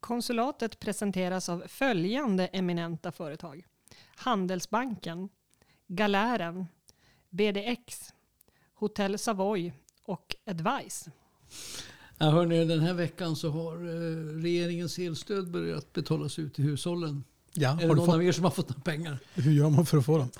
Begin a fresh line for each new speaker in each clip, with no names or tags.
Konsulatet presenteras av följande eminenta företag. Handelsbanken, Galären, BDX, Hotell Savoy och Advice.
Ja, hörni, den här veckan så har eh, regeringens elstöd börjat betalas ut till hushållen.
Ja,
Är det
har du
någon
fått,
av er som har fått några pengar?
hur gör man för att få dem?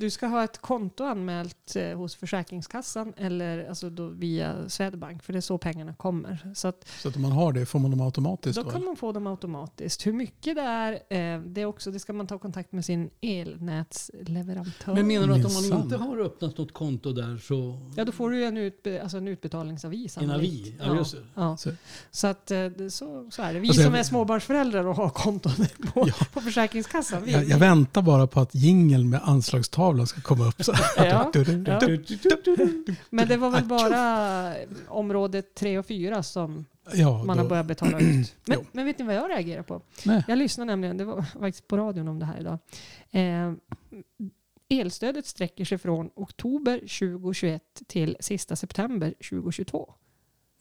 Du ska ha ett konto anmält eh, hos Försäkringskassan eller alltså då via Swedbank för det är så pengarna kommer. Så att
Så att om man har det, får man dem automatiskt
då
då?
kan man få dem automatiskt. Hur mycket det är, eh, det, är också, det ska man ta kontakt med sin elnätsleverantör.
Men menar du att om man
Minsann.
inte har öppnat något konto där så...
ja, då får du ju en, utbe, alltså en utbetalningsavi
en
sannolikt.
avi? Ja, just det.
Ja.
Så-
Så, att, eh, det- så, så är det. Vi
Alltså, jag-
som är småbarnsföräldrar och har konton på, på Försäkringskassan. Vi,
Jag, jag väntar bara på att jingeln med anslagstavlan ska komma upp. Så.
Ja,
Du, du, du,
ja.
du, du, du, du.
men det var väl bara område 3 och 4 som
Ja,
man har
då,
börjat betala ut. Men,
Jo.
men vet ni vad jag reagerar på?
Nej.
Jag lyssnade nämligen, det var faktiskt på radion om det här idag. Eh, elstödet sträcker sig från oktober 2021 till sista september 2022.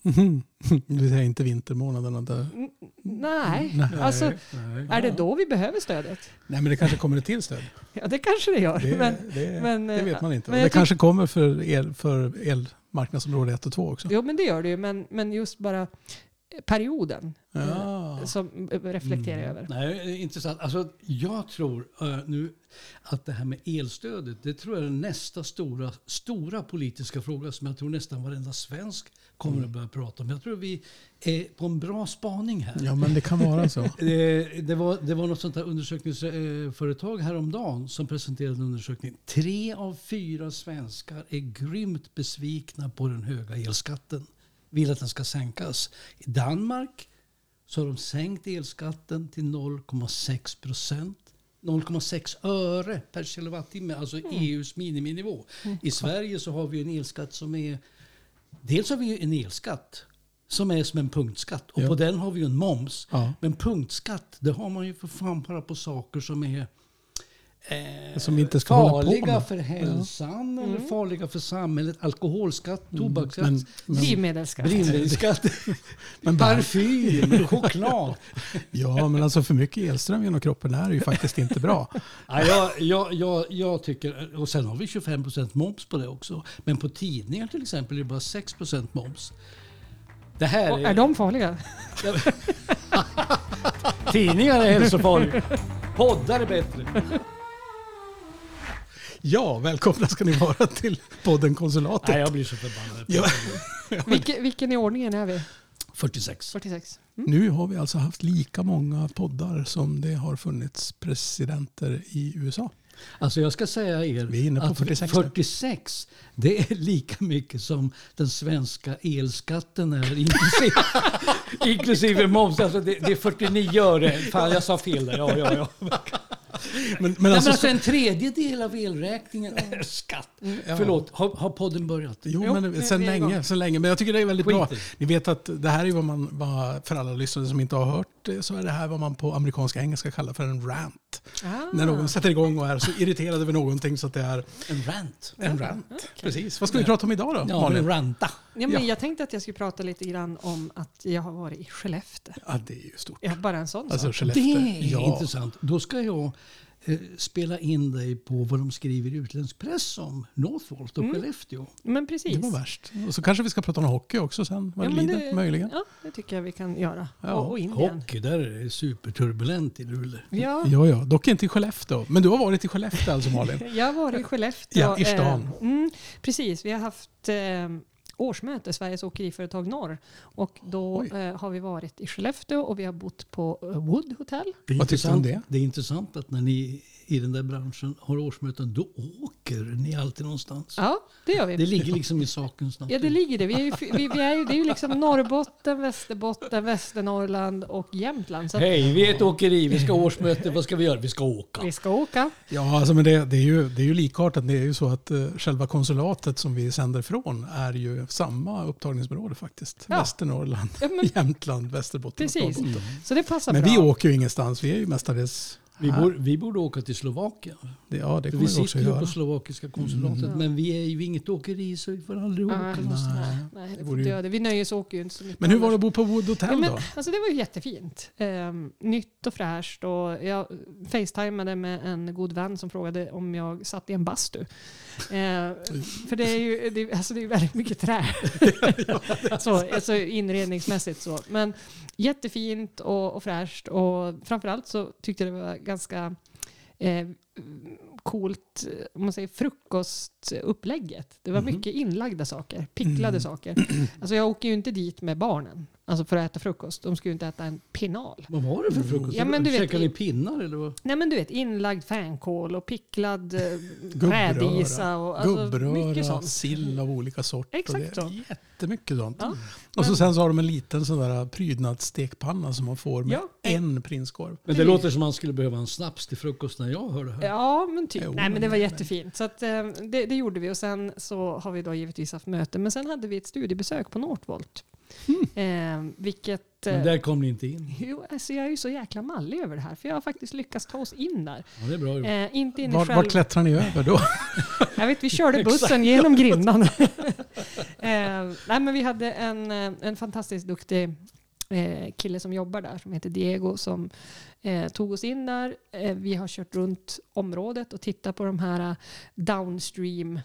Mhm. det vill säga inte vintermånaderna. Där.
N-
Mm.
nej.
Nej.
alltså
nej.
Mm.
är det då vi behöver stödet?
Nej, men det kanske kommer ett till stöd.
Ja, det kanske det gör.
Det,
men,
det,
men, eh,
det vet man inte.
men
Men det
jag tyck-
kanske kommer för, el, för elmarknadsområde 1 och 2 också.
Jo, men det gör det ju. Men, men just bara eh, perioden
Ja. Mm.
som eh, reflekterar jag över.
Mm. Nej, det är intressant. Alltså, jag tror eh, nu att det här med elstödet, det tror jag är nästa stora, stora politiska fråga som jag tror nästan varenda svensk kommer
Mm.
att börja prata om. Jag tror vi är på en bra spaning här.
ja, men det kan vara så.
Eh, Det var, det var något sånt här undersökningsföretag häromdagen som presenterade en undersökning. Tre av fyra svenskar är grymt besvikna på den höga elskatten. Vill att den ska sänkas. I Danmark så har de sänkt elskatten till 0,6 procent. 0,6 öre per kilowattimme, alltså EUs miniminivå. I Sverige så har vi en elskatt som är... Dels har vi ju en elskatt som är som en punktskatt och
Ja.
på den har vi ju en moms.
Ja.
Men punktskatt, det har man ju för fan bara på saker som är eh,
Som vi inte ska hålla på
farliga
med.
för hälsan eller farliga för samhället. Alkoholskatt, tobaksskatt,
Mm, Men, men,
Drivmedelsskatt.
drivmedelsskatt,
men bara,
parfym, choklad.
ja, men alltså för mycket elström genom kroppen är ju faktiskt inte bra.
Ja, jag, jag, jag, jag tycker, och sen har vi 25 moms på det också. Men på tidningar till exempel är det bara 6 moms. Det här
Och är de farliga?
tidningar är hälsofarliga. Poddar är bättre.
Ja, välkomna ska ni vara till podden Konsulatet.
Nej, jag blir så förbannad.
Ja.
Vilke, vilken i ordningen är vi?
46.
46.
Nu har vi alltså haft lika många poddar som det har funnits presidenter i USA.
Alltså jag ska säga er
Vi är inne på
att
46 nu.
46 det är lika mycket som den svenska elskatten är inklusive, inklusive moms. Alltså det, det är 49 öre. Fan jag sa fel där. Ja, ja, ja.
Men,
Men alltså,
alltså,
en tredjedel av elräkningen är skatt.
Ja.
Förlåt, har, har podden börjat?
Jo,
Jo, vi-
men sen
vi är igång.
länge, sen länge. Men jag tycker det är väldigt
Skit
bra.
i.
Ni vet att det här är ju vad man, vad, för alla lyssnare som inte har hört det, så är det här vad man på amerikanska engelska kallar för en rant. När någon sätter igång och är så irriterad över någonting så att det är
En rant.
en rant. Precis. Vad ska vi prata om idag då,
Ja, en
Malin?
ranta.
Ja, men
Ja.
Jag tänkte att jag skulle prata lite grann om att jag har varit i Skellefteå.
Ja, det är ju stort.
Ja, bara en sån
Alltså
sak.
Skellefteå.
Det är
ja.
intressant. Då ska jag eh, spela in dig på vad de skriver i utländsk press om Northvolt och
Mm.
Skellefteå.
Men precis.
Det var värst. Och så kanske vi ska prata om hockey också sen, vad
Ja,
det
men
lider, möjligen.
Ja, det tycker jag vi kan göra.
Ja,
Och, och Indien.
Hockey, där är det superturbulent i Luleå.
Ja,
Ja, ja, dock inte i Skellefteå. Men du har varit i Skellefteå alltså Malin?
jag har varit i Skellefteå.
Ja, i stan.
Eh, Mm, precis, vi har haft eh, årsmöte, Sveriges Åkeriföretag Norr. Och då
Oj.
eh, har vi varit i Skellefteå och vi har bott på eh, Wood Hotel.
Det är
Vad tyckte du om
intressant-
det?
Det är intressant att när ni i den där branschen har årsmöten, då åker ni alltid någonstans.
Ja, det gör vi.
Det ligger liksom i sakens natur.
Ja, det ligger det. Vi är ju, vi, vi är ju, det är ju liksom Norrbotten, Västerbotten, Västernorrland och Jämtland. Så att
Hej, vi är ett åkeri, vi ska ha årsmöte, vad ska vi göra? Vi ska åka.
vi ska åka.
Ja, alltså, men det, det, är ju, det är ju likartat. Det är ju så att eh, själva konsulatet som vi sänder från är ju samma upptagningsområde faktiskt.
Ja.
Västernorrland,
Ja, men-
Jämtland, Västerbotten och
Precis.
Norrbotten.
Så det passar
Men
bra.
vi åker ju ingenstans. Vi är ju mestadels
Vi, borde, vi borde åka till Slovakien.
Det, ja, det
För
kommer
vi
vi också
sitter ju
göra.
på slovakiska konsulatet.
Mm.
Men vi är ju inget åkeri så vi får aldrig åka
Nej,
någonstans.
nej, nej, det
vore
får inte
ju-
göra det. Vi nöjesåker ju inte så mycket.
Men hur var
annars.
det att bo på Wood Hotel
Ja, men,
då?
alltså det var ju jättefint. Ehm, nytt och fräscht. Och jag facetimade med en god vän som frågade om jag satt i en bastu. Ehm, för det är ju det, är- alltså det är väldigt mycket trä. så, alltså inredningsmässigt så. Men jättefint och, och fräscht. Och framförallt så tyckte jag det var ganska eh, coolt eh, om man säger, frukostupplägget. Det var
Mhm.
mycket inlagda saker, picklade
Mm.
saker. Alltså jag åker ju inte dit med barnen alltså för att äta frukost. De skulle ju inte äta en pinal.
Vad var det för frukost?
Mm. Ja, men du vet-
Käkade ni pinnar eller vad?
Nej men du vet, inlagd fänkål och picklad eh,
Gubbröra.
rädisa. Och, alltså, mycket
Gubbröra,
sånt.
sill av olika sorter.
Exakt
det är
så.
jättemycket sånt.
Ja,
och så
men-
sen så har de en liten sån där prydnadsstekpanna som man får med
Ja.
en prinskorv.
Men det
Precis.
låter som man skulle behöva en snaps till frukost när jag hör det här.
Ja, men typ.
Jo,
Nej, men det
men-
var jättefint. Så att, eh, det, det gjorde vi och sen så har vi då givetvis haft möte. Men sen hade vi ett studiebesök på Northvolt. Eh, vilket... eh,
Men där kom ni inte in.
Jo, alltså jag är ju så jäkla mallig över det här, för jag har faktiskt lyckats ta oss in där.
Ja, det är bra gjort.
Eh, inte in i
Var, var
själva...
klättrar ni över då?
Jag vet, vi körde bussen genom grindan. eh, nej, men vi hade en, eh, en fantastiskt duktig eh, kille som jobbar där som heter Diego som eh, tog oss in där. Eh, vi har kört runt området och tittat på de här eh, downstream eh,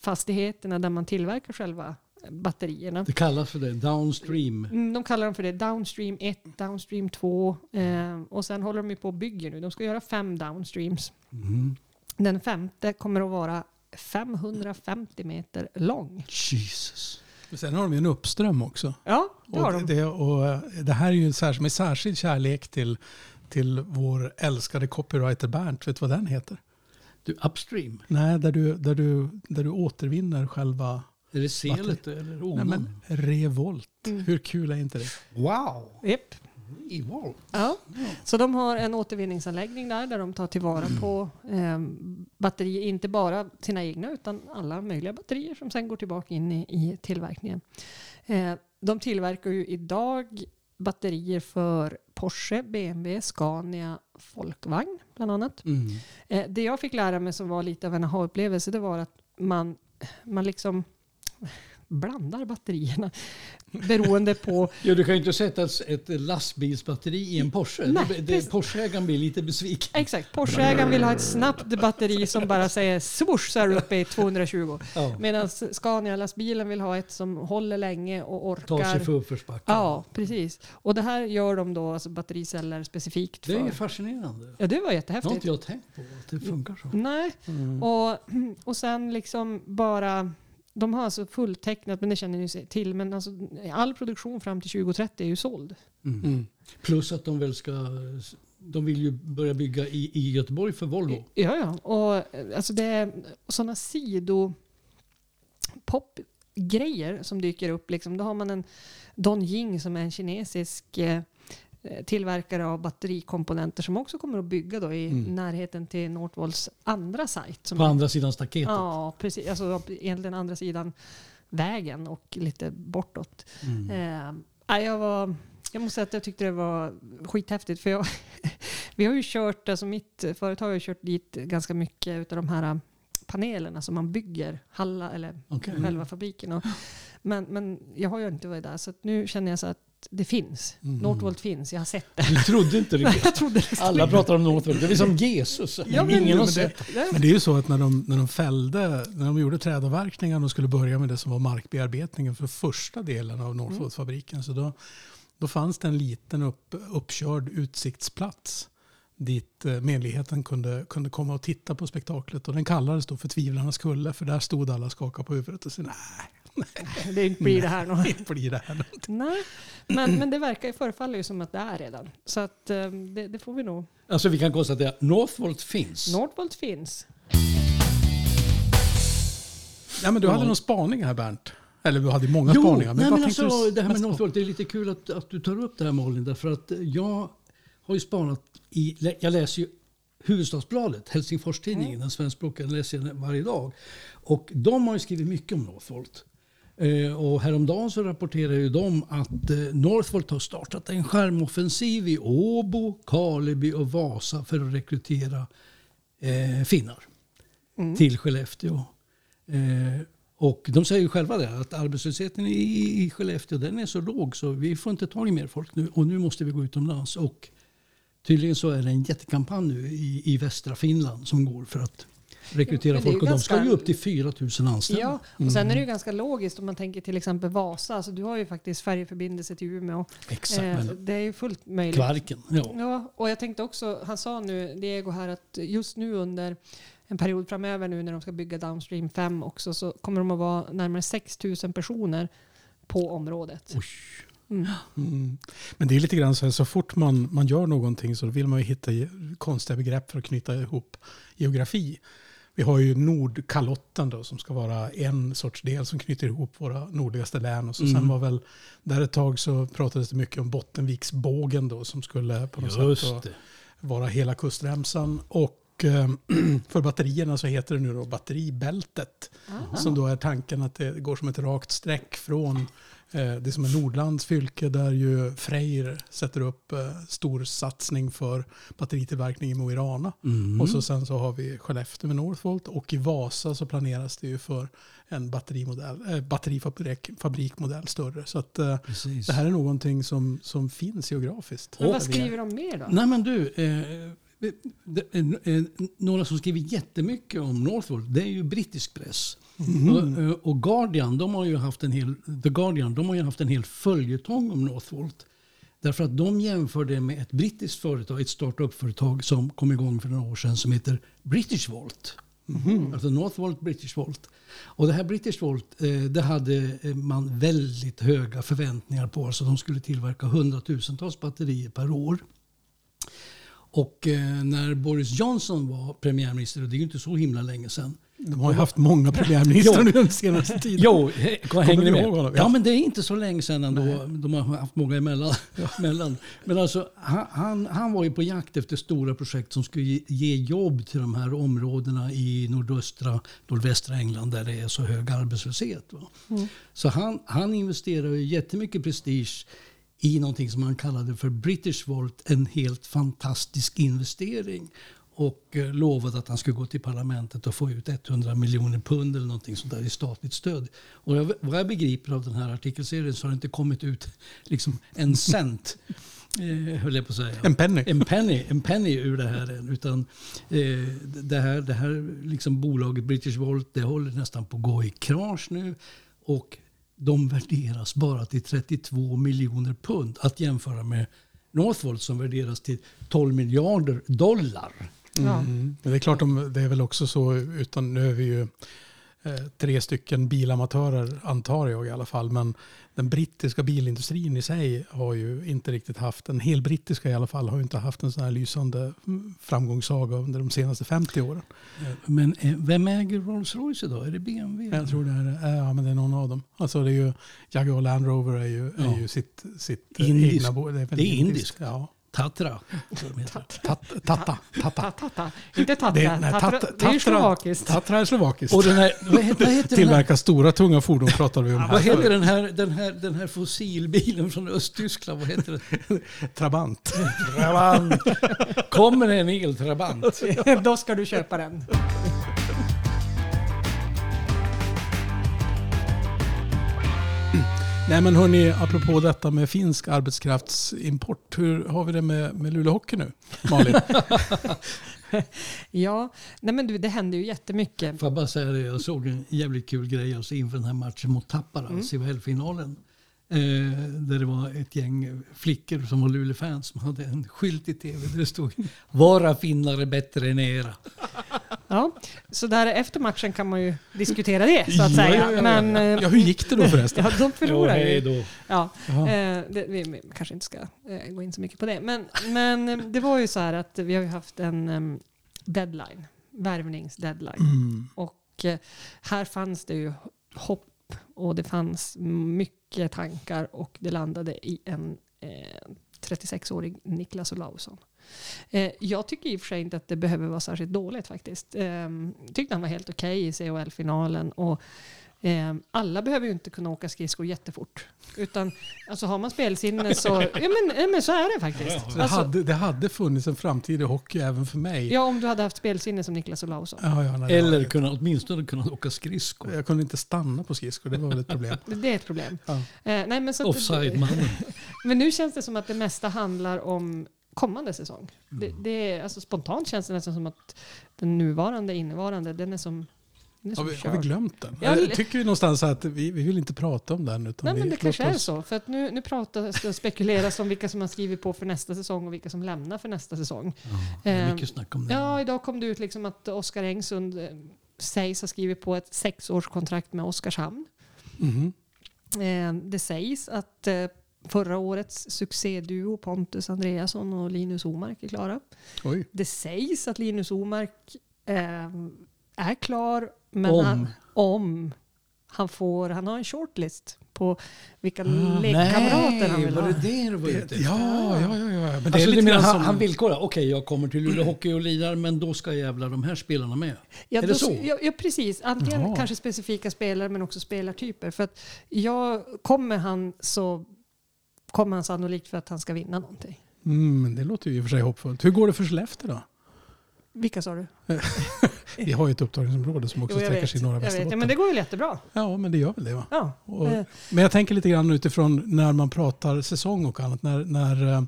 fastigheterna där man tillverkar själva eh, batterierna.
Det kallas för det, downstream.
Mm, De kallar dem för det Downstream 1, Downstream 2 eh, och sen håller de ju på och bygger nu. De ska göra fem downstreams.
Mm.
Den femte kommer att vara 550 meter lång.
Jesus.
Sen har de ju en uppström också.
Ja, det har
Och
de.
det, och eh, det här är ju särskilt, med särskild kärlek till, till vår älskade copywriter Bernt. Vet du vad den heter?
Du, upstream.
Nej, där du, där du, där du återvinner själva
Är det selet eller
nej,
onan?
men, revolt.
Mm.
Hur kul är inte det?
Wow!
Japp.
Wow.
Ja. Så de har en återvinningsanläggning där, där de tar tillvara på eh, batterier, inte bara sina egna utan alla möjliga batterier som sen går tillbaka in i, i tillverkningen. Eh, de tillverkar ju idag batterier för Porsche, BMW, Scania, Folkvagn bland annat.
Mm.
Eh, det jag fick lära mig som var lite av en aha-upplevelse det var att man, man liksom blandar batterierna beroende på
Ja, du kan ju inte sätta ett, ett lastbilsbatteri i en Porsche.
Nej,
det, det,
precis.
Porscheägaren blir lite besviken.
Exakt, Porscheägaren vill ha ett snabbt batteri som bara säger swoosh så är du uppe i 220.
Ja,
Medan Scania-lastbilen vill ha ett som håller länge och
tar sig
orkar.
för uppförsbacken.
Ja, precis. Och det här gör de då, alltså battericeller specifikt
Det är ju
för.
fascinerande.
Ja, det var
Det har inte
jättehäftigt.
jag tänkt på, att det funkar så.
Nej, och, och sen liksom bara, de har alltså fulltecknat, men det känner ni ju till, men alltså, all produktion fram till 2030 är ju såld.
Mm. Plus att de väl ska... De vill ju börja bygga i, i Göteborg för Volvo.
Ja, ja. Och, eh, alltså det är sådana sidopopgrejer som dyker upp. Liksom. Då har man en Don Jing som är en kinesisk eh, tillverkare av batterikomponenter som också kommer att bygga då i
Mm.
närheten till Northvolts andra sajt. Som
På andra sidan staketet.
Ja, precis. Alltså egentligen andra sidan vägen och lite bortåt.
Mm.
Eh, nej, jag, var, jag måste säga att jag tyckte det var skithäftigt. För jag, vi har ju kört, alltså mitt företag har ju kört dit ganska mycket av de här panelerna som man bygger, Halla eller
Okej. Mm.
själva fabriken. Och, men, men jag har ju inte varit där så att nu känner jag så att det finns.
Mm.
Northvolt finns, jag har sett det.
Du trodde inte det?
Jag trodde liksom
Alla pratar om något. Det är som Jesus.
Ja, men-
Ingen har
men det-
sett.
Men det är ju så att när de, när de fällde, när de gjorde trädavverkningen och skulle börja med det som var markbearbetningen för första delen av Norrfodsfabriken så då, då fanns det en liten upp, uppkörd utsiktsplats dit eh, menligheten kunde, kunde komma och titta på spektaklet och den kallades då för Tvivlarnas kulle för där stod alla och skakade på huvudet och sa nej,
det blir det här någon.
det blir det här.
Nej, men, men det verkar ju förefaller ju som att det är redan. Så att eh, det, det får vi nog.
Alltså vi kan konstatera att Northvolt finns.
Northvolt finns.
Nej, men du hade
Ja.
någon spaning här Bernt? Eller du hade många spaningar.
nej,
vad
men
tänkte
alltså,
du s-
det här med
mest på?
Northvolt, det är lite kul att, att du tar upp det här Malin. Därför att jag har ju spanat i, lä- jag läser ju Hufvudstadsbladet, Helsingfors-tidningen, den svenskspråkiga läser jag varje dag. Och de har ju skrivit mycket om Northvolt. Eh, Och häromdagen så rapporterade ju de att eh, Northvolt har startat en skärmoffensiv i Åbo, Karleby och Vasa för att rekrytera eh, finnar
Mm.
till Skellefteå. Eh, och de säger ju själva det, att arbetslösheten i, i Skellefteå den är så låg så vi får inte tag i mer folk nu och nu måste vi gå utomlands. Och tydligen så är det en jättekampanj nu i, i västra Finland som går för att rekrytera
men det är
folk.
ju
Och de ska ju
ganska-
upp till 4 000 anställda.
Ja, och sen
Mm.
är det ju ganska logiskt om man tänker till exempel Vasa. Alltså, du har ju faktiskt färjeförbindelse till Umeå.
Exakt.
Eh,
men
det är Mm. ju fullt möjligt.
Kvarken, ja.
Ja, och jag tänkte också, han sa nu, Diego här, att just nu under en period framöver nu när de ska bygga Downstream 5 också så kommer de att vara närmare 6 000 personer på området.
Oj.
Mm.
Mm. Men det är lite grann så här, så fort man, man gör någonting så vill man ju hitta ge- konstiga begrepp för att knyta ihop geografi. Vi har ju Nordkalotten då, som ska vara en sorts del som knyter ihop våra nordligaste län. Och så
Mm.
sen var väl, där ett tag så pratades det mycket om Bottenviksbågen då, som skulle på något sätt då
Just det.
vara hela kustremsan. Och eh, för batterierna så heter det nu då batteribältet.
Ah.
Som då är tanken att det går som ett rakt streck från eh, det som är Nordlands fylke där ju Freyr sätter upp eh, stor satsning för batteritillverkning i Mo i Rana.
Mm.
Och så sen så har vi Skellefteå med Northvolt och i Vasa så planeras det ju för en batterimodell, eh, batterifabrik fabrikmodell större. Så att eh,
Precis.
det här är någonting som, som finns geografiskt.
Men vad skriver de mer då?
Nej men du, eh, det, eh, några som skriver jättemycket om Northvolt, det är ju brittisk press. Och, eh, och Guardian, de har ju haft en hel, The Guardian, de har ju haft en hel följetong om Northvolt. Därför att de jämför det med ett brittiskt företag, ett startup-företag som kom igång för några år sedan som heter British Volt. Alltså Northvolt, British Volt. Och det här British Volt, eh, det hade eh, man väldigt höga förväntningar på. Alltså de skulle tillverka hundratusentals batterier per år. Och eh, när Boris Johnson var premiärminister, och det är ju inte så himla länge sedan.
De har ju haft många premiärministrar nu den senaste tiden.
Jo, eh,
hänger ni med?
Ja.
Ja.
men det är inte så länge sedan ändå. De har haft många emellan. emellan. Men alltså, han, han, han var ju på jakt efter stora projekt som skulle ge, ge jobb till de här områdena i nordöstra, nordvästra England där det är så hög arbetslöshet. Va?
Mm.
Så han, han investerade ju jättemycket prestige i någonting som han kallade för British Volt, en helt fantastisk investering. Och eh, lovade att han skulle gå till parlamentet och få ut 100 miljoner pund eller någonting sånt där i statligt stöd. Och jag, vad jag begriper av den här artikelserien så har det inte kommit ut liksom en cent, eh, höll jag på att säga
En penny.
en penny, en penny ur det här än. Utan eh, det här, det här liksom bolaget British Volt det håller nästan på att gå i krasch nu. Och de värderas bara till 32 miljoner pund. Att jämföra med Northvolt som värderas till 12 miljarder dollar.
Ja.
Mm. Men Det är klart, de, det är väl också så, utan nu är vi ju eh, tre stycken bilamatörer antar jag i alla fall, men den brittiska bilindustrin i sig har ju inte riktigt haft, den helbrittiska i alla fall, har ju inte haft en sån här lysande mm, framgångssaga under de senaste 50 åren.
Eh, Men eh, vem äger Rolls Royce idag? Är det
Mm.
BMW?
Jag tror det är, eh, ja, men det är någon av dem. Alltså det är ju, Jaguar Land Rover är ju,
Ja.
är ju sitt, sitt eh,
Indisk.
egna bo- väl
Det är indiskt.
Ja.
Tatra. tror jag de heter.
Tat, tata, tata.
Tata. Inte Tatra.
Det, nej,
Tatra.
tatra,
det är ju
Tatra-
slovakiskt.
Tatra är slovakiskt.
Och den här, vad heter, vad heter den här?
Tillverkar stora tunga fordon pratar vi om
Vad
här.
heter den här, den här, den här fossilbilen från Östtyskland? Vad heter den?
Alltså, Trabant.
Trabant. Kommer en eltrabant?
Då ska du köpa den.
Nej men hörni, apropå detta med finsk arbetskraftsimport. Hur har vi det med, med Lulehockey nu? Malin?
Ja, nej men du, det händer ju jättemycket.
Får jag bara säga det, jag såg en jävligt kul grej alltså inför den här matchen mot Tappara, CHL-finalen. Eh, där det var ett gäng flickor som var Luleå-fans som hade en skylt i tv där det stod Våra finnar är bättre än era.
Ja, så där efter matchen kan man ju diskutera det så att
Ja,
säga.
ja, ja, ja.
Men eh,
Ja, hur gick det då förresten?
ja, de förlorar ju.
då.
Ja,
Jaha.
eh, det, vi, vi kanske inte ska eh, gå in så mycket på det. Men, men eh, det var ju så här att vi har ju haft en em, deadline, värvningsdeadline.
Mm.
Och eh, här fanns det ju hopp och det fanns mycket tankar och det landade i en eh, 36-årig Niklas Olausson. Eh, jag tycker i och för sig inte att det behöver vara särskilt dåligt faktiskt. Eh, tyckte han var helt okej i CHL-finalen. Och, eh, alla behöver ju inte kunna åka skridskor jättefort. Utan alltså, har man spelsinne så, ja, men, ja, men så är det faktiskt.
Så det,
Alltså,
hade, det hade funnits en framtid i hockey även för mig.
ja, om du hade haft spelsinne som Niklas Olausson.
Ja, ja, nej, det
Eller
var-
kunna, åtminstone kunna åka skridskor.
Jag kunde inte stanna på skridskor, det var väl ett problem.
Det det är ett problem.
Ja.
Eh, nej, men, så att-
Offside-mannen.
men nu känns det som att det mesta handlar om kommande säsong. Det,
Mm.
det är, alltså, spontant känns det nästan som att den nuvarande, innevarande, den är som, den är
Har
som
vi, har vi
körd.
glömt den?
Ja,
Jag
det-
tycker ju någonstans att vi, vi vill inte prata om den. Utan
Nej,
vi,
men det
låt
kanske är
oss-
så. För att nu, nu pratas det och spekuleras om vilka som har skrivit på för nästa säsong och vilka som lämnar för nästa säsong.
Ja, det är
Ehm,
mycket snack om det.
Ja, idag kom det ut liksom att Oskar Engsund eh, sägs ha skrivit på ett sexårskontrakt med Oskarshamn.
Mhm.
Eh, Det sägs att eh, förra årets succéduo Pontus Andreasson och Linus Omark är klara.
Oj.
Det sägs att Linus Omark eh, är klar, men
Om.
Han, om han får, han har en shortlist på vilka
Ah,
lekkamrater han vill
var
ha.
det det du var ute
Ja, ja, ja. ja. Men det
Alltså,
är
du
lite
menar,
grann
han,
som...
han villkorar, okej jag kommer till Luleå Hockey och lirar men då ska jävla de här spelarna med.
Ja,
Är det
då,
så?
Ja, ja precis. Antingen
Jaha.
kanske specifika spelare men också spelartyper. För att jag, kommer han så kommer han sannolikt för att han ska vinna någonting.
Mm, det låter ju i och för sig hoppfullt. Hur går det för Skellefteå då?
Vilka sa du?
Vi har ju ett upptagningsområde som också
jag
sträcker
vet.
sig i norra
Jag vet. Ja,
Västerbotten.
men det går ju jättebra.
Ja, men det gör väl det va?
Ja.
Och,
Eh.
men jag tänker lite grann utifrån när man pratar säsong och annat. När, när, eh,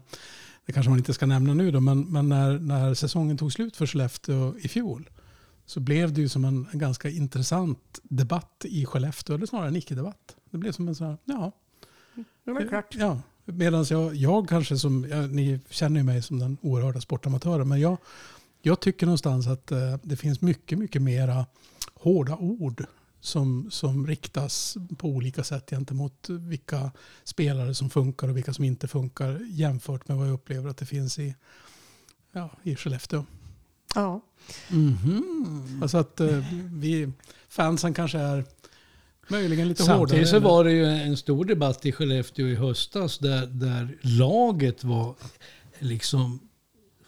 det kanske man inte ska nämna nu då, men, men när, när säsongen tog slut för Skellefteå i fjol så blev det ju som en, en ganska intressant debatt i Skellefteå, eller snarare en icke-debatt. Det blev som en sån här, ja.
Det var klart.
Ja. Medan jag, jag kanske som, ja, ni känner ju mig som den oerhörda sportamatören, men jag, jag tycker någonstans att eh, det finns mycket, mycket mera hårda ord som, som riktas på olika sätt gentemot vilka spelare som funkar och vilka som inte funkar jämfört med vad jag upplever att det finns i, ja, i Skellefteå.
Ja.
Mhm.
Alltså att eh, vi, fansen kanske är möjligen lite hårdare.
Samtidigt så
eller-
var det ju en stor debatt i Skellefteå i höstas där, där laget var liksom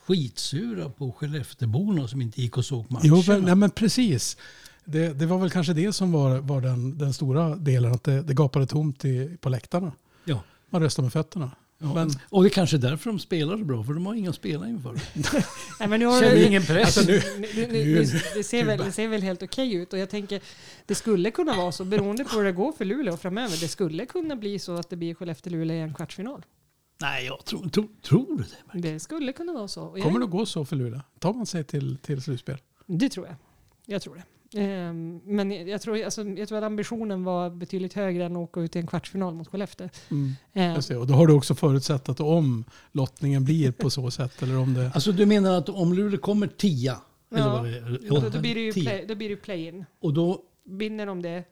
skitsura på Skellefteåborna som inte gick och såg matcherna.
Jo, men, nej, men precis. Det, det var väl kanske det som var, var den, den stora delen, att det, det gapade tomt i, på läktarna.
ja,
Man röstar med fötterna.
ja.
Men-
Och det är kanske är därför de spelar så bra, för de har inga spelare inför.
Nej, men nu
De
har
känner
du,
ingen press.
Alltså, nu, nu, nu, det, ser väl, det ser väl helt okej ut och jag tänker det skulle kunna vara så beroende på hur det går för Luleå framöver. Det skulle kunna bli så att det blir Skellefteå-Luleå i en kvartsfinal.
Nej, jag tror, tror, tror du det?
Det skulle kunna vara så. Och jag-
Kommer det att gå så för Luleå? Tar man sig till, till slutspel?
Det tror jag. Jag tror det. Ehm, Men jag jag tror, alltså, jag tror att ambitionen var betydligt högre än att åka ut i en kvartsfinal mot Skellefteå.
Mm.
Ehm,
Just det, Och då har du också förutsatt att om lottningen blir på så sätt, eller om det...
Alltså du menar att om Luleå kommer tia, eller
Ja.
vad det är,
Då,
åtta,
då blir det ju
tio,
play, då blir det ju play-in.
och, då,
Vinner de det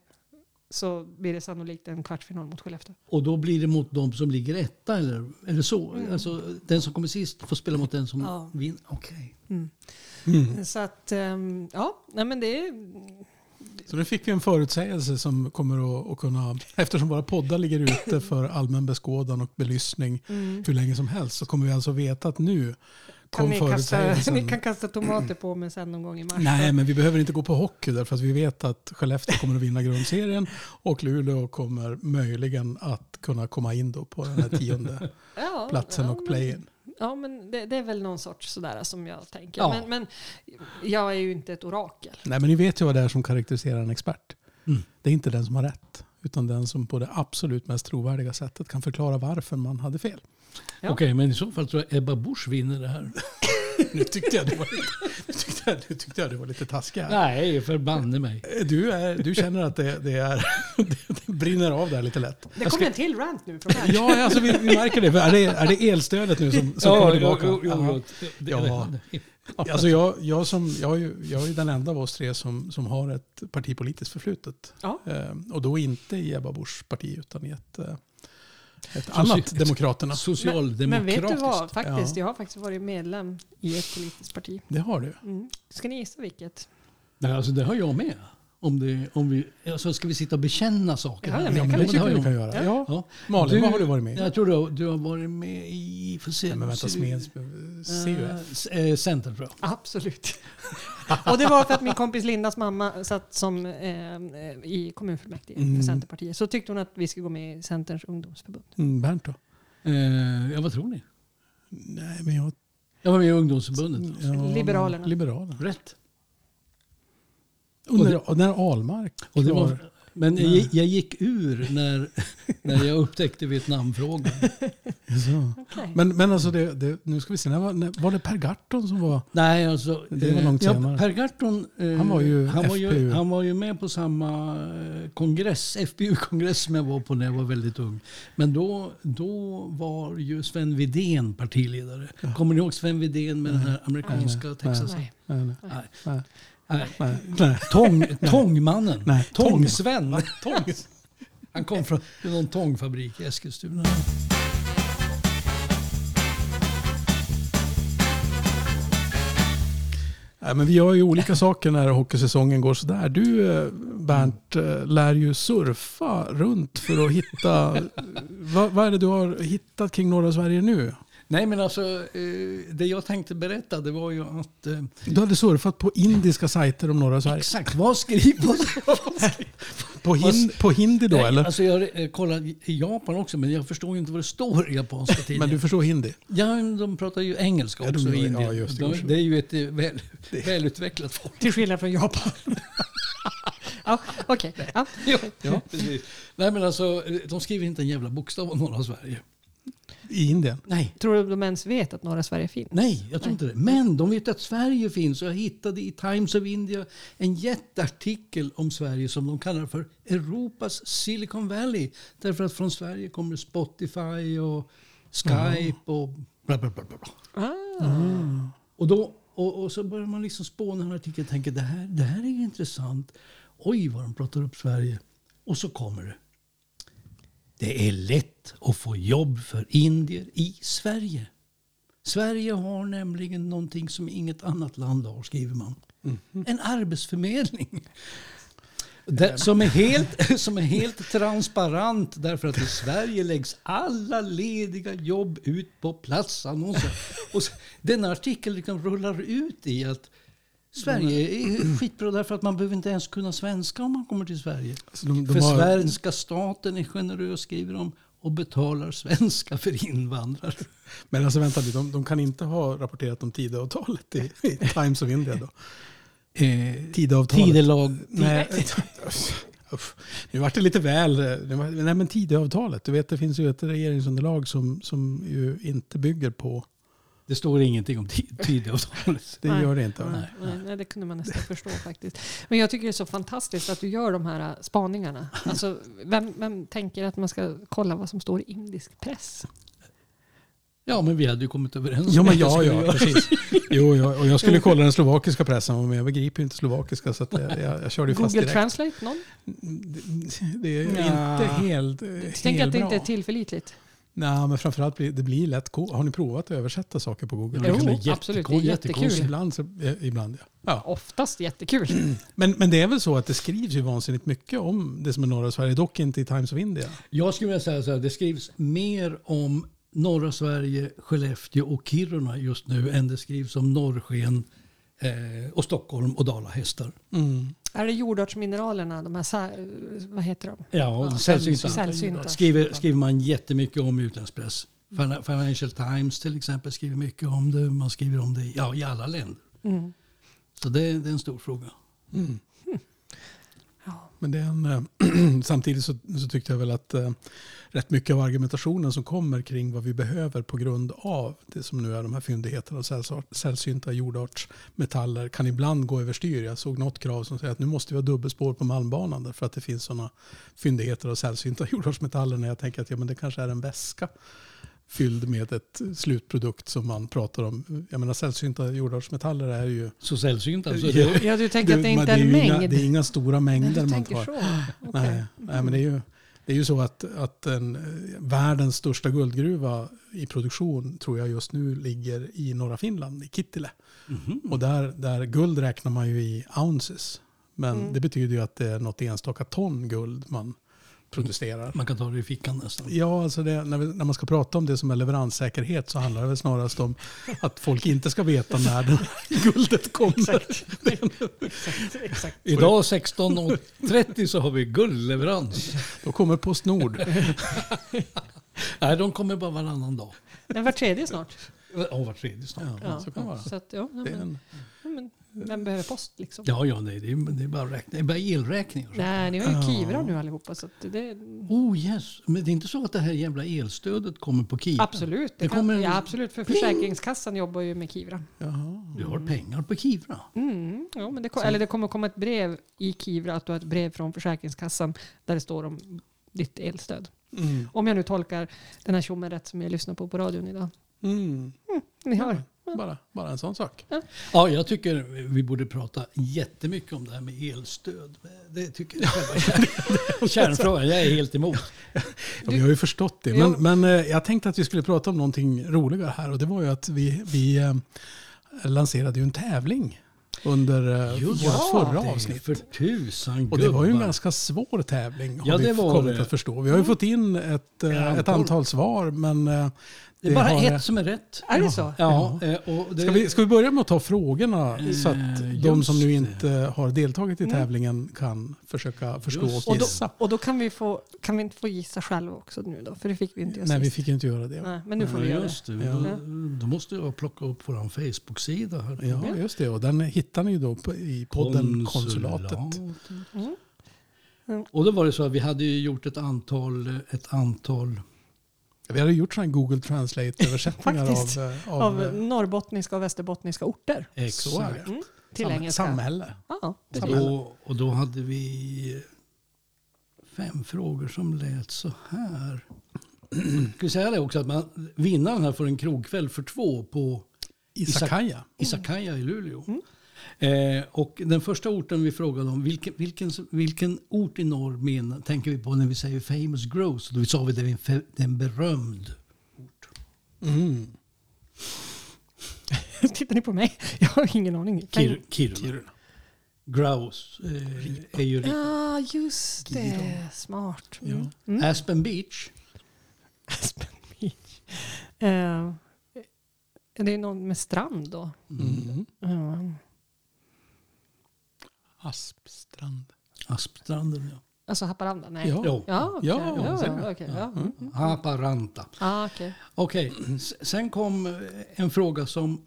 så blir det sannolikt en kvartsfinal mot Skellefteå.
och då blir det mot de som ligger etta eller, eller så? Alltså den som kommer sist får spela mot den som
Mm. Ja.
vinner? Okej.
Så att, ehm, ja, nej men det är...
Så nu fick vi en förutsägelse som kommer att, att kunna... Eftersom våra poddar ligger ute för allmän beskådan och belysning
mm.
Mm.
hur länge som helst så kommer vi alltså veta att nu
Kan
kom
ni, kasta,
förutsägelsen.
ni kan kasta tomater på mig sen någon gång i mars.
Nej, men vi behöver inte gå på hockey därför att vi vet att Skellefteå kommer att vinna grundserien och Luleå kommer möjligen att kunna komma in då på den här tionde
ja,
platsen
ja,
och
men-
playen.
Ja, men det, det är väl någon sorts sådär som jag tänker.
Ja.
Men, men jag är ju inte ett orakel.
Nej, men ni vet ju vad det är som karaktäriserar en expert.
Mm.
Det är inte den som har rätt, utan den som på det absolut mest trovärdiga sättet kan förklara varför man hade fel.
Ja.
Okej, men i så fall tror jag Ebba Busch vinner det här.
Nu tyckte jag det var lite, nu tyckte jag, nu tyckte jag det var lite taskigt. här.
Nej, förbanne mig.
Du, är, du känner att det, det, är, det brinner av där lite lätt.
Det kommer en till rant nu från här.
Ja, alltså vi, vi märker det. Är det, är det elstödet nu som, som kommer tillbaka?
Jo, jo, jo,
Ja.
jo.
Alltså jag, jag, som, jag, är ju, jag är ju den enda av oss tre som, som har ett partipolitiskt förflutet.
Ja.
Ehm, och då inte i Ebba Buschs parti utan i ett, eh, ett
Soci-
annat Demokraterna.
Socialdemokratiskt.
Men vet du vad, faktiskt,
Ja.
jag har faktiskt varit medlem i ett politiskt parti.
Det har du.
Mm. Ska ni gissa vilket?
Nej, alltså det har jag med. Om det, om vi, alltså ska vi sitta och bekänna saker?
Ja,
här?
ja, men
Ja, men
kan
det
vi-
tycker
har
jag vi
jag
kan
med.
göra.
Ja.
Ja.
Ja.
Malin,
Du-
vad har du varit med i?
Jag tror du, har- du har varit med i... Får se,
Nej, men vänta,
se-
Smeds, CUF?
Eh, Centerbro.
Absolut. och det var för att min kompis Lindas mamma satt som, eh, i kommunfullmäktige
Mm.
för Centerpartiet. Så tyckte hon att vi skulle gå med i Centerns ungdomsförbund.
Mm, Bernt då?
Eh, ja, vad tror ni?
Nej, men jag...
Jag var med i ungdomsförbundet.
jag
Liberalerna.
Liberalerna.
Rätt.
Och när, och när Ahlmark
Och det
var...
var, men jag,
Nej.
gick- jag gick ur när, när jag upptäckte Vietnamfrågan.
Så.
Okej.
Men, men alltså, det, det, nu ska vi se. När var, när, var det Per Gahrton som var...
Nej, alltså,
Det var långt
eh,
senare.
Per Gahrton, eh,
Han var ju
han var ju,
FPU.
han var ju med på samma eh, kongress, FPU-kongress som jag var på när jag var väldigt ung. Men då, då var ju Sven Widén partiledare.
Ja.
Kommer ni ihåg Sven Widén med den här amerikanska
Nej.
Texas?
Nej.
Nej, nej,
Nej.
nej,
Nej.
nej, nej.
Tång, tångmannen.
Nej.
Tång-Sven. Han kom från någon tångfabrik i Eskilstuna.
Nej, men vi gör ju olika saker när hockeysäsongen går sådär. Du, eh, Bernt, eh, lär ju surfa runt för att hitta... vad, vad är det du har hittat kring norra Sverige nu?
Nej, men alltså eh, det jag tänkte berätta det var ju att eh,
Du hade surfat på indiska sajter om norra Sverige.
Exakt, vad skriver
På, hin, på hindi då,
Nej,
eller?
Alltså jag har eh, kollat i Japan också, men jag förstår ju inte vad det står i japanska tidningar.
Men du förstår hindi?
ja, men de pratar ju engelska
Ja, de
också
gör-
i
ja,
Indien.
just det,
de,
kanske.
det är ju ett eh, väl, välutvecklat folk.
Till skillnad från Japan. ja, Okej. Ja.
Ja, precis. Nej, men alltså, eh, de skriver inte en jävla bokstav om norra Sverige.
I Indien?
Nej.
Tror du de ens vet att norra Sverige finns?
Nej, jag tror inte det. Men de vet att Sverige finns och jag hittade i Times of India en jätteartikel om Sverige som de kallar för Europas Silicon Valley. Därför att från Sverige kommer Spotify och Skype och bla bla bla. bla. bla.
Ah.
Och, då, och, och så börjar man liksom spåna den här artikeln och tänker det här, det här är ju intressant. Oj vad de pratar upp Sverige. Och så kommer det. Det är lätt att få jobb för indier i Sverige. Sverige har nämligen någonting som inget annat land har, skriver man. En arbetsförmedling. Där, som, är helt, som är helt transparent därför att i Sverige läggs alla lediga jobb ut på platsannonser. Och s- denna artikel liksom rullar ut i att Sverige är skitbra därför att man behöver inte ens kunna svenska om man kommer till Sverige.
Alltså de,
För
de har,
svenska staten är generös, skriver de, och betalar svenska för invandrare.
men alltså vänta lite, de, de kan inte ha rapporterat om Tidöavtalet i, i Times of India då? Tidöavtalet?
Tidelag.
Nej. Uff. Nu vart det lite väl... eh, det var- Nej men Tidöavtalet, du vet det finns ju ett regeringsunderlag som, som ju inte bygger på...
Det står ingenting om tid- Tideavtalet.
Det
Nej.
gör det inte. va?
Nej, nej, nej, det kunde man nästan förstå faktiskt. Men jag tycker det är så fantastiskt att du gör de här äh, spaningarna. Alltså, vem, vem tänker att man ska kolla vad som står i indisk press?
Ja, men vi hade ju kommit överens
Jo,
om
men
att det
ja,
skulle
ja,
göra.
precis. Jo, jag, och jag skulle kolla den slovakiska pressen, men jag begriper ju inte slovakiska så att jag, jag, jag körde ju fast
Google
direkt.
Translate någon?
Det- Det är ju
Nja.
inte helt, eh,
Tänk
helt
att det inte
bra.
är tillförlitligt.
Nej, men framförallt blir det blir lätt... ko- Har ni provat att översätta saker på Google?
Jo,
Det kan bli
jättekon-
absolut. Det är
jättekonstigt.
jättekul.
Ibland, så, eh, ibland ja. ja.
Oftast jättekul.
Men, men det är väl så att det skrivs ju vansinnigt mycket om det som är norra Sverige, dock inte i Times of India.
Jag skulle vilja säga så här, det skrivs mer om norra Sverige, Skellefteå och Kiruna just nu än det skrivs om norrsken eh, och Stockholm och dalahästar.
Är det jordartsmineralerna, de här, sä- vad heter de?
Ja,
Ja,
sällsynta.
sällsynta.
Skriver, skriver man jättemycket om i utländsk press. Fin- Financial Times till exempel skriver mycket om det. Man skriver om det i- ja, i alla länder.
Mm.
Så det, det är en stor fråga.
Ja.
Men det är en, eh, samtidigt så, så tyckte jag väl att eh, rätt mycket av argumentationen som kommer kring vad vi behöver på grund av det som nu är de här fyndigheterna och sällsort- sällsynta jordartsmetaller kan ibland gå överstyr. Jag såg något krav som säger att nu måste vi ha dubbelspår på Malmbanan därför att det finns sådana fyndigheter av sällsynta jordartsmetaller. När jag tänker att ja, men det kanske är en väska fylld med ett slutprodukt som man pratar om. Jag menar sällsynta jordartsmetaller är ju...
Så sällsynt alltså.
Ja.
Det,
ja, du tänker att det
men
inte är en
ju Inga,
mängd?
det är inga stora
Nej, du
mängder man
tänker
tar.
så?
Nej,
Okej.
nej, men det är ju, det är ju så att, att en, eh, världens största guldgruva i produktion tror jag just nu ligger i norra Finland, i Kittile.
Mhm.
Och där, där guld räknar man ju i ounces. Men
Mm.
det betyder ju att det är något enstaka ton guld man, protesterar.
Mm.
Man kan ta det i fickan nästan.
Ja, alltså det, när, vi, när man ska prata om det som är leveranssäkerhet så handlar det väl snarast om att folk inte ska veta när det- guldet kommer.
Exakt, exakt.
Idag 16.30 så har vi guldleverans.
Då kommer Postnord.
Nej, de kommer bara varannan dag.
Den var tredje snart.
Ja, var tredje snart.
Ja,
Ja,
så kan det vara.
så att, ja, nej,
Det är
men,
en,
ja, men, vem behöver post liksom?
Ja, ja, nej, det är, det är bara räkning. Det är bara elräkningar.
Nej, ni har ju
Ja.
Kivra nu allihopa. Så att det,
Oh yes, men det är inte så att det här jävla elstödet kommer på Kivra?
absolut, det
Det
kan,
kommer en-
ja, absolut, för Försäkringskassan jobbar ju med Kivra.
jaha.
Du har pengar på Kivra.
Mm, ja, men det, kom, eller det kommer komma ett brev i Kivra, att du har ett brev från Försäkringskassan där det står om ditt elstöd.
Mm.
Om jag nu tolkar den här tjommen rätt som jag lyssnar på på radion idag.
Mm.
Ni hör.
Bara, bara en sån sak.
Ja, jag tycker vi borde prata jättemycket om det här med elstöd. Det tycker jag själva kärn- kärnfrågan. Jag är helt emot.
Ja, vi har ju förstått det.
Ja.
Men, men eh, jag tänkte att vi skulle prata om någonting roligare här och det var ju att vi, vi eh, lanserade ju en tävling under eh, vårt förra
det är
avsnitt.
För tusan
Och det var ju en
gubbar.
ganska svår tävling har
Ja,
vi
det var
kommit
det. Mm.
att förstå. Vi har ju fått in ett, eh,
Ja,
ett
antal.
antal svar men eh,
Det är bara
har-
ett som är rätt.
Är det så?
Ja, eh, och det,
Ska vi, ska vi börja med att ta frågorna
Eh,
så att de
just
som nu
det.
inte har deltagit i
Mm.
tävlingen kan försöka förstå
Just
och
Och då,
gissa?
och då kan vi, få, kan vi inte få gissa själva också nu då? För det fick vi inte göra
Nej, vi
sist.
fick ju inte göra det.
Nej, men nu får vi
Ja,
göra det.
just det.
Ja.
Då, då måste jag plocka upp vår Facebook-sida. Här.
Ja, just det. Och den hittar ni ju då på, i podden Konsulatet.
Mm.
Och då var det så att vi hade ju gjort ett antal, ett antal
Vi hade gjort sådana Google Translate-översättningar
Faktiskt.
av, eh, av,
Av
eh,
norrbottniska och västerbottniska orter
så är det.
Mm, till
Sam-
engelska.
samhälle.
Ja,
Och
samhälle.
då, och då hade vi fem frågor som lät så här. Ska vi säga det också att man, vinnaren här får en krogkväll för två på
Isakaya.
Isakaya i Luleå. Eh, och den första orten vi frågade om, vilken, vilken, vilken ort i norr men, tänker vi på när vi säger famous grows? Då sa vi det är en, fe- det är en berömd ort.
Mm.
Tittar ni på mig? Jag har ingen aning. Kan-
Kir, Kiruna. Grouse eh, är ju ripa.
Ja, just det. Smart. Mm. Mm.
Aspen Beach.
Aspen Beach. Eh, är det någon med strand då?
Mm.
Uh,
Aspstrand.
Aspstranden ja.
alltså Haparanda? Nej.
Ja.
Jo.
Ja, okej.
Ja,
Ja,
säkert.
ja, okej, ja. Mm.
Haparanta.
Ah, okej.
Okej, s- sen kom eh, en fråga som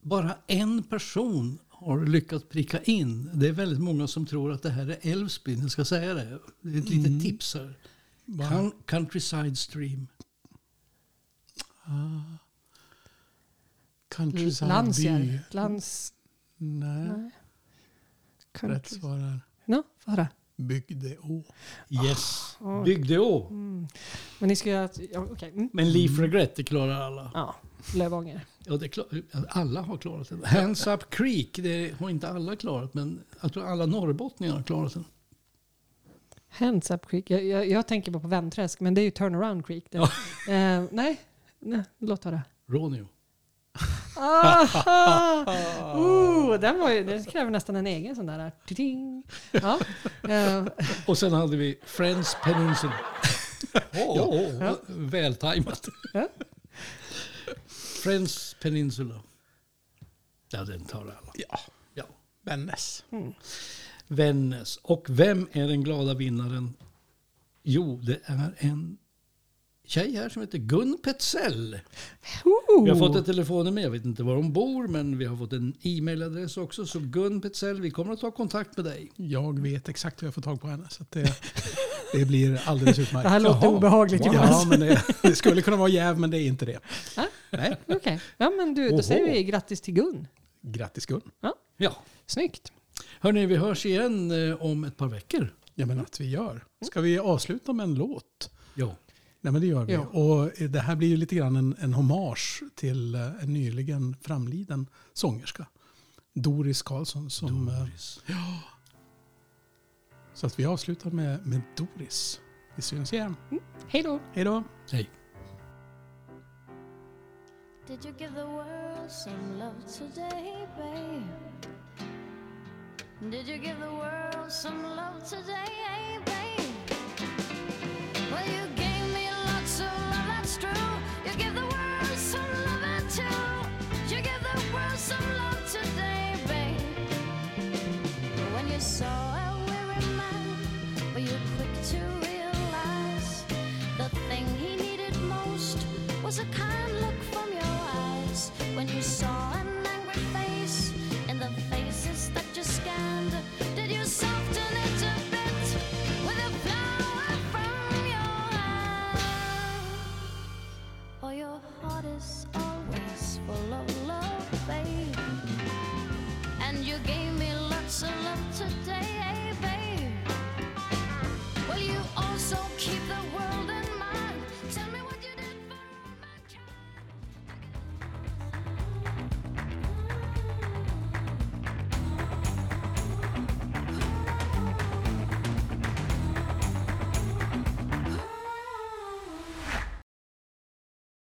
bara en person har lyckats pricka in. Det är väldigt många som tror att det här är Älvsbyn. Jag ska säga det. Det är ett litet tips här. Coun- Countryside Stream.
Ah. Countryside by.
Lansjärv? Lans...
Nej,
Nej.
rätt
Country.
svar är
No, få höra.
Bygdeå.
Yes.
Ah.
Bygdeå.
Men ni ska göra... ett- Ja, okej. Mm.
Men Leaf Regret, det klarar alla.
Ja, Lövånger.
Ja, det är klar, alla har klarat den. Hands Up Creek, det har inte alla klarat, men jag tror alla norrbottningar har klarat den.
Hands up creek. Jag, jag, jag tänker bara på Vändträsk, men det är ju turnaround creek. där. Eh, nej. nej, låt höra.
Ronio.
Aha! Oh, den, var ju, den kräver nästan en egen sån där. Tiding. Ja. Eh,
Och sen hade vi Friends Peninsula. Åh, oh,
Ja.
Vältajmat.
Ja.
Friends Peninsula. Ja, den tar alla.
Ja,
Ja.
Vännäs.
Vännäs. Och vem är den glada vinnaren? Jo, det är en tjej här som heter Gun Petzell.
oh.
Vi har fått ett telefonnummer, jag vet inte var hon bor, men vi har fått en e-mailadress också. Så Gun Petzell, vi kommer att ta kontakt med dig.
Jag vet exakt hur jag får tag på henne. Så att det, det blir alldeles utmärkt.
Det här låter
Jaha.
obehagligt
Wow.
Jonas.
Ja, men det, det skulle kunna vara jäv, men det är inte det.
Nej.
Okej, ja, men du, då säger
Oho.
vi grattis till Gun.
Grattis Gun.
Ja.
Snyggt.
Hörni, vi hörs igen eh, om ett par veckor.
Ja, men att vi gör. Ska vi avsluta med en låt?
Ja.
Nej, men det gör vi.
Ja.
Och eh, det här blir ju lite grann en, en hommage till eh, en nyligen framliden sångerska. Doris Karlsson. Som, eh, Så att vi avslutar med, med Doris. Vi syns igen.
Hej då.
Hej då.
Hej.
Did you give the world some love today, babe? Did you give the world some love today, babe?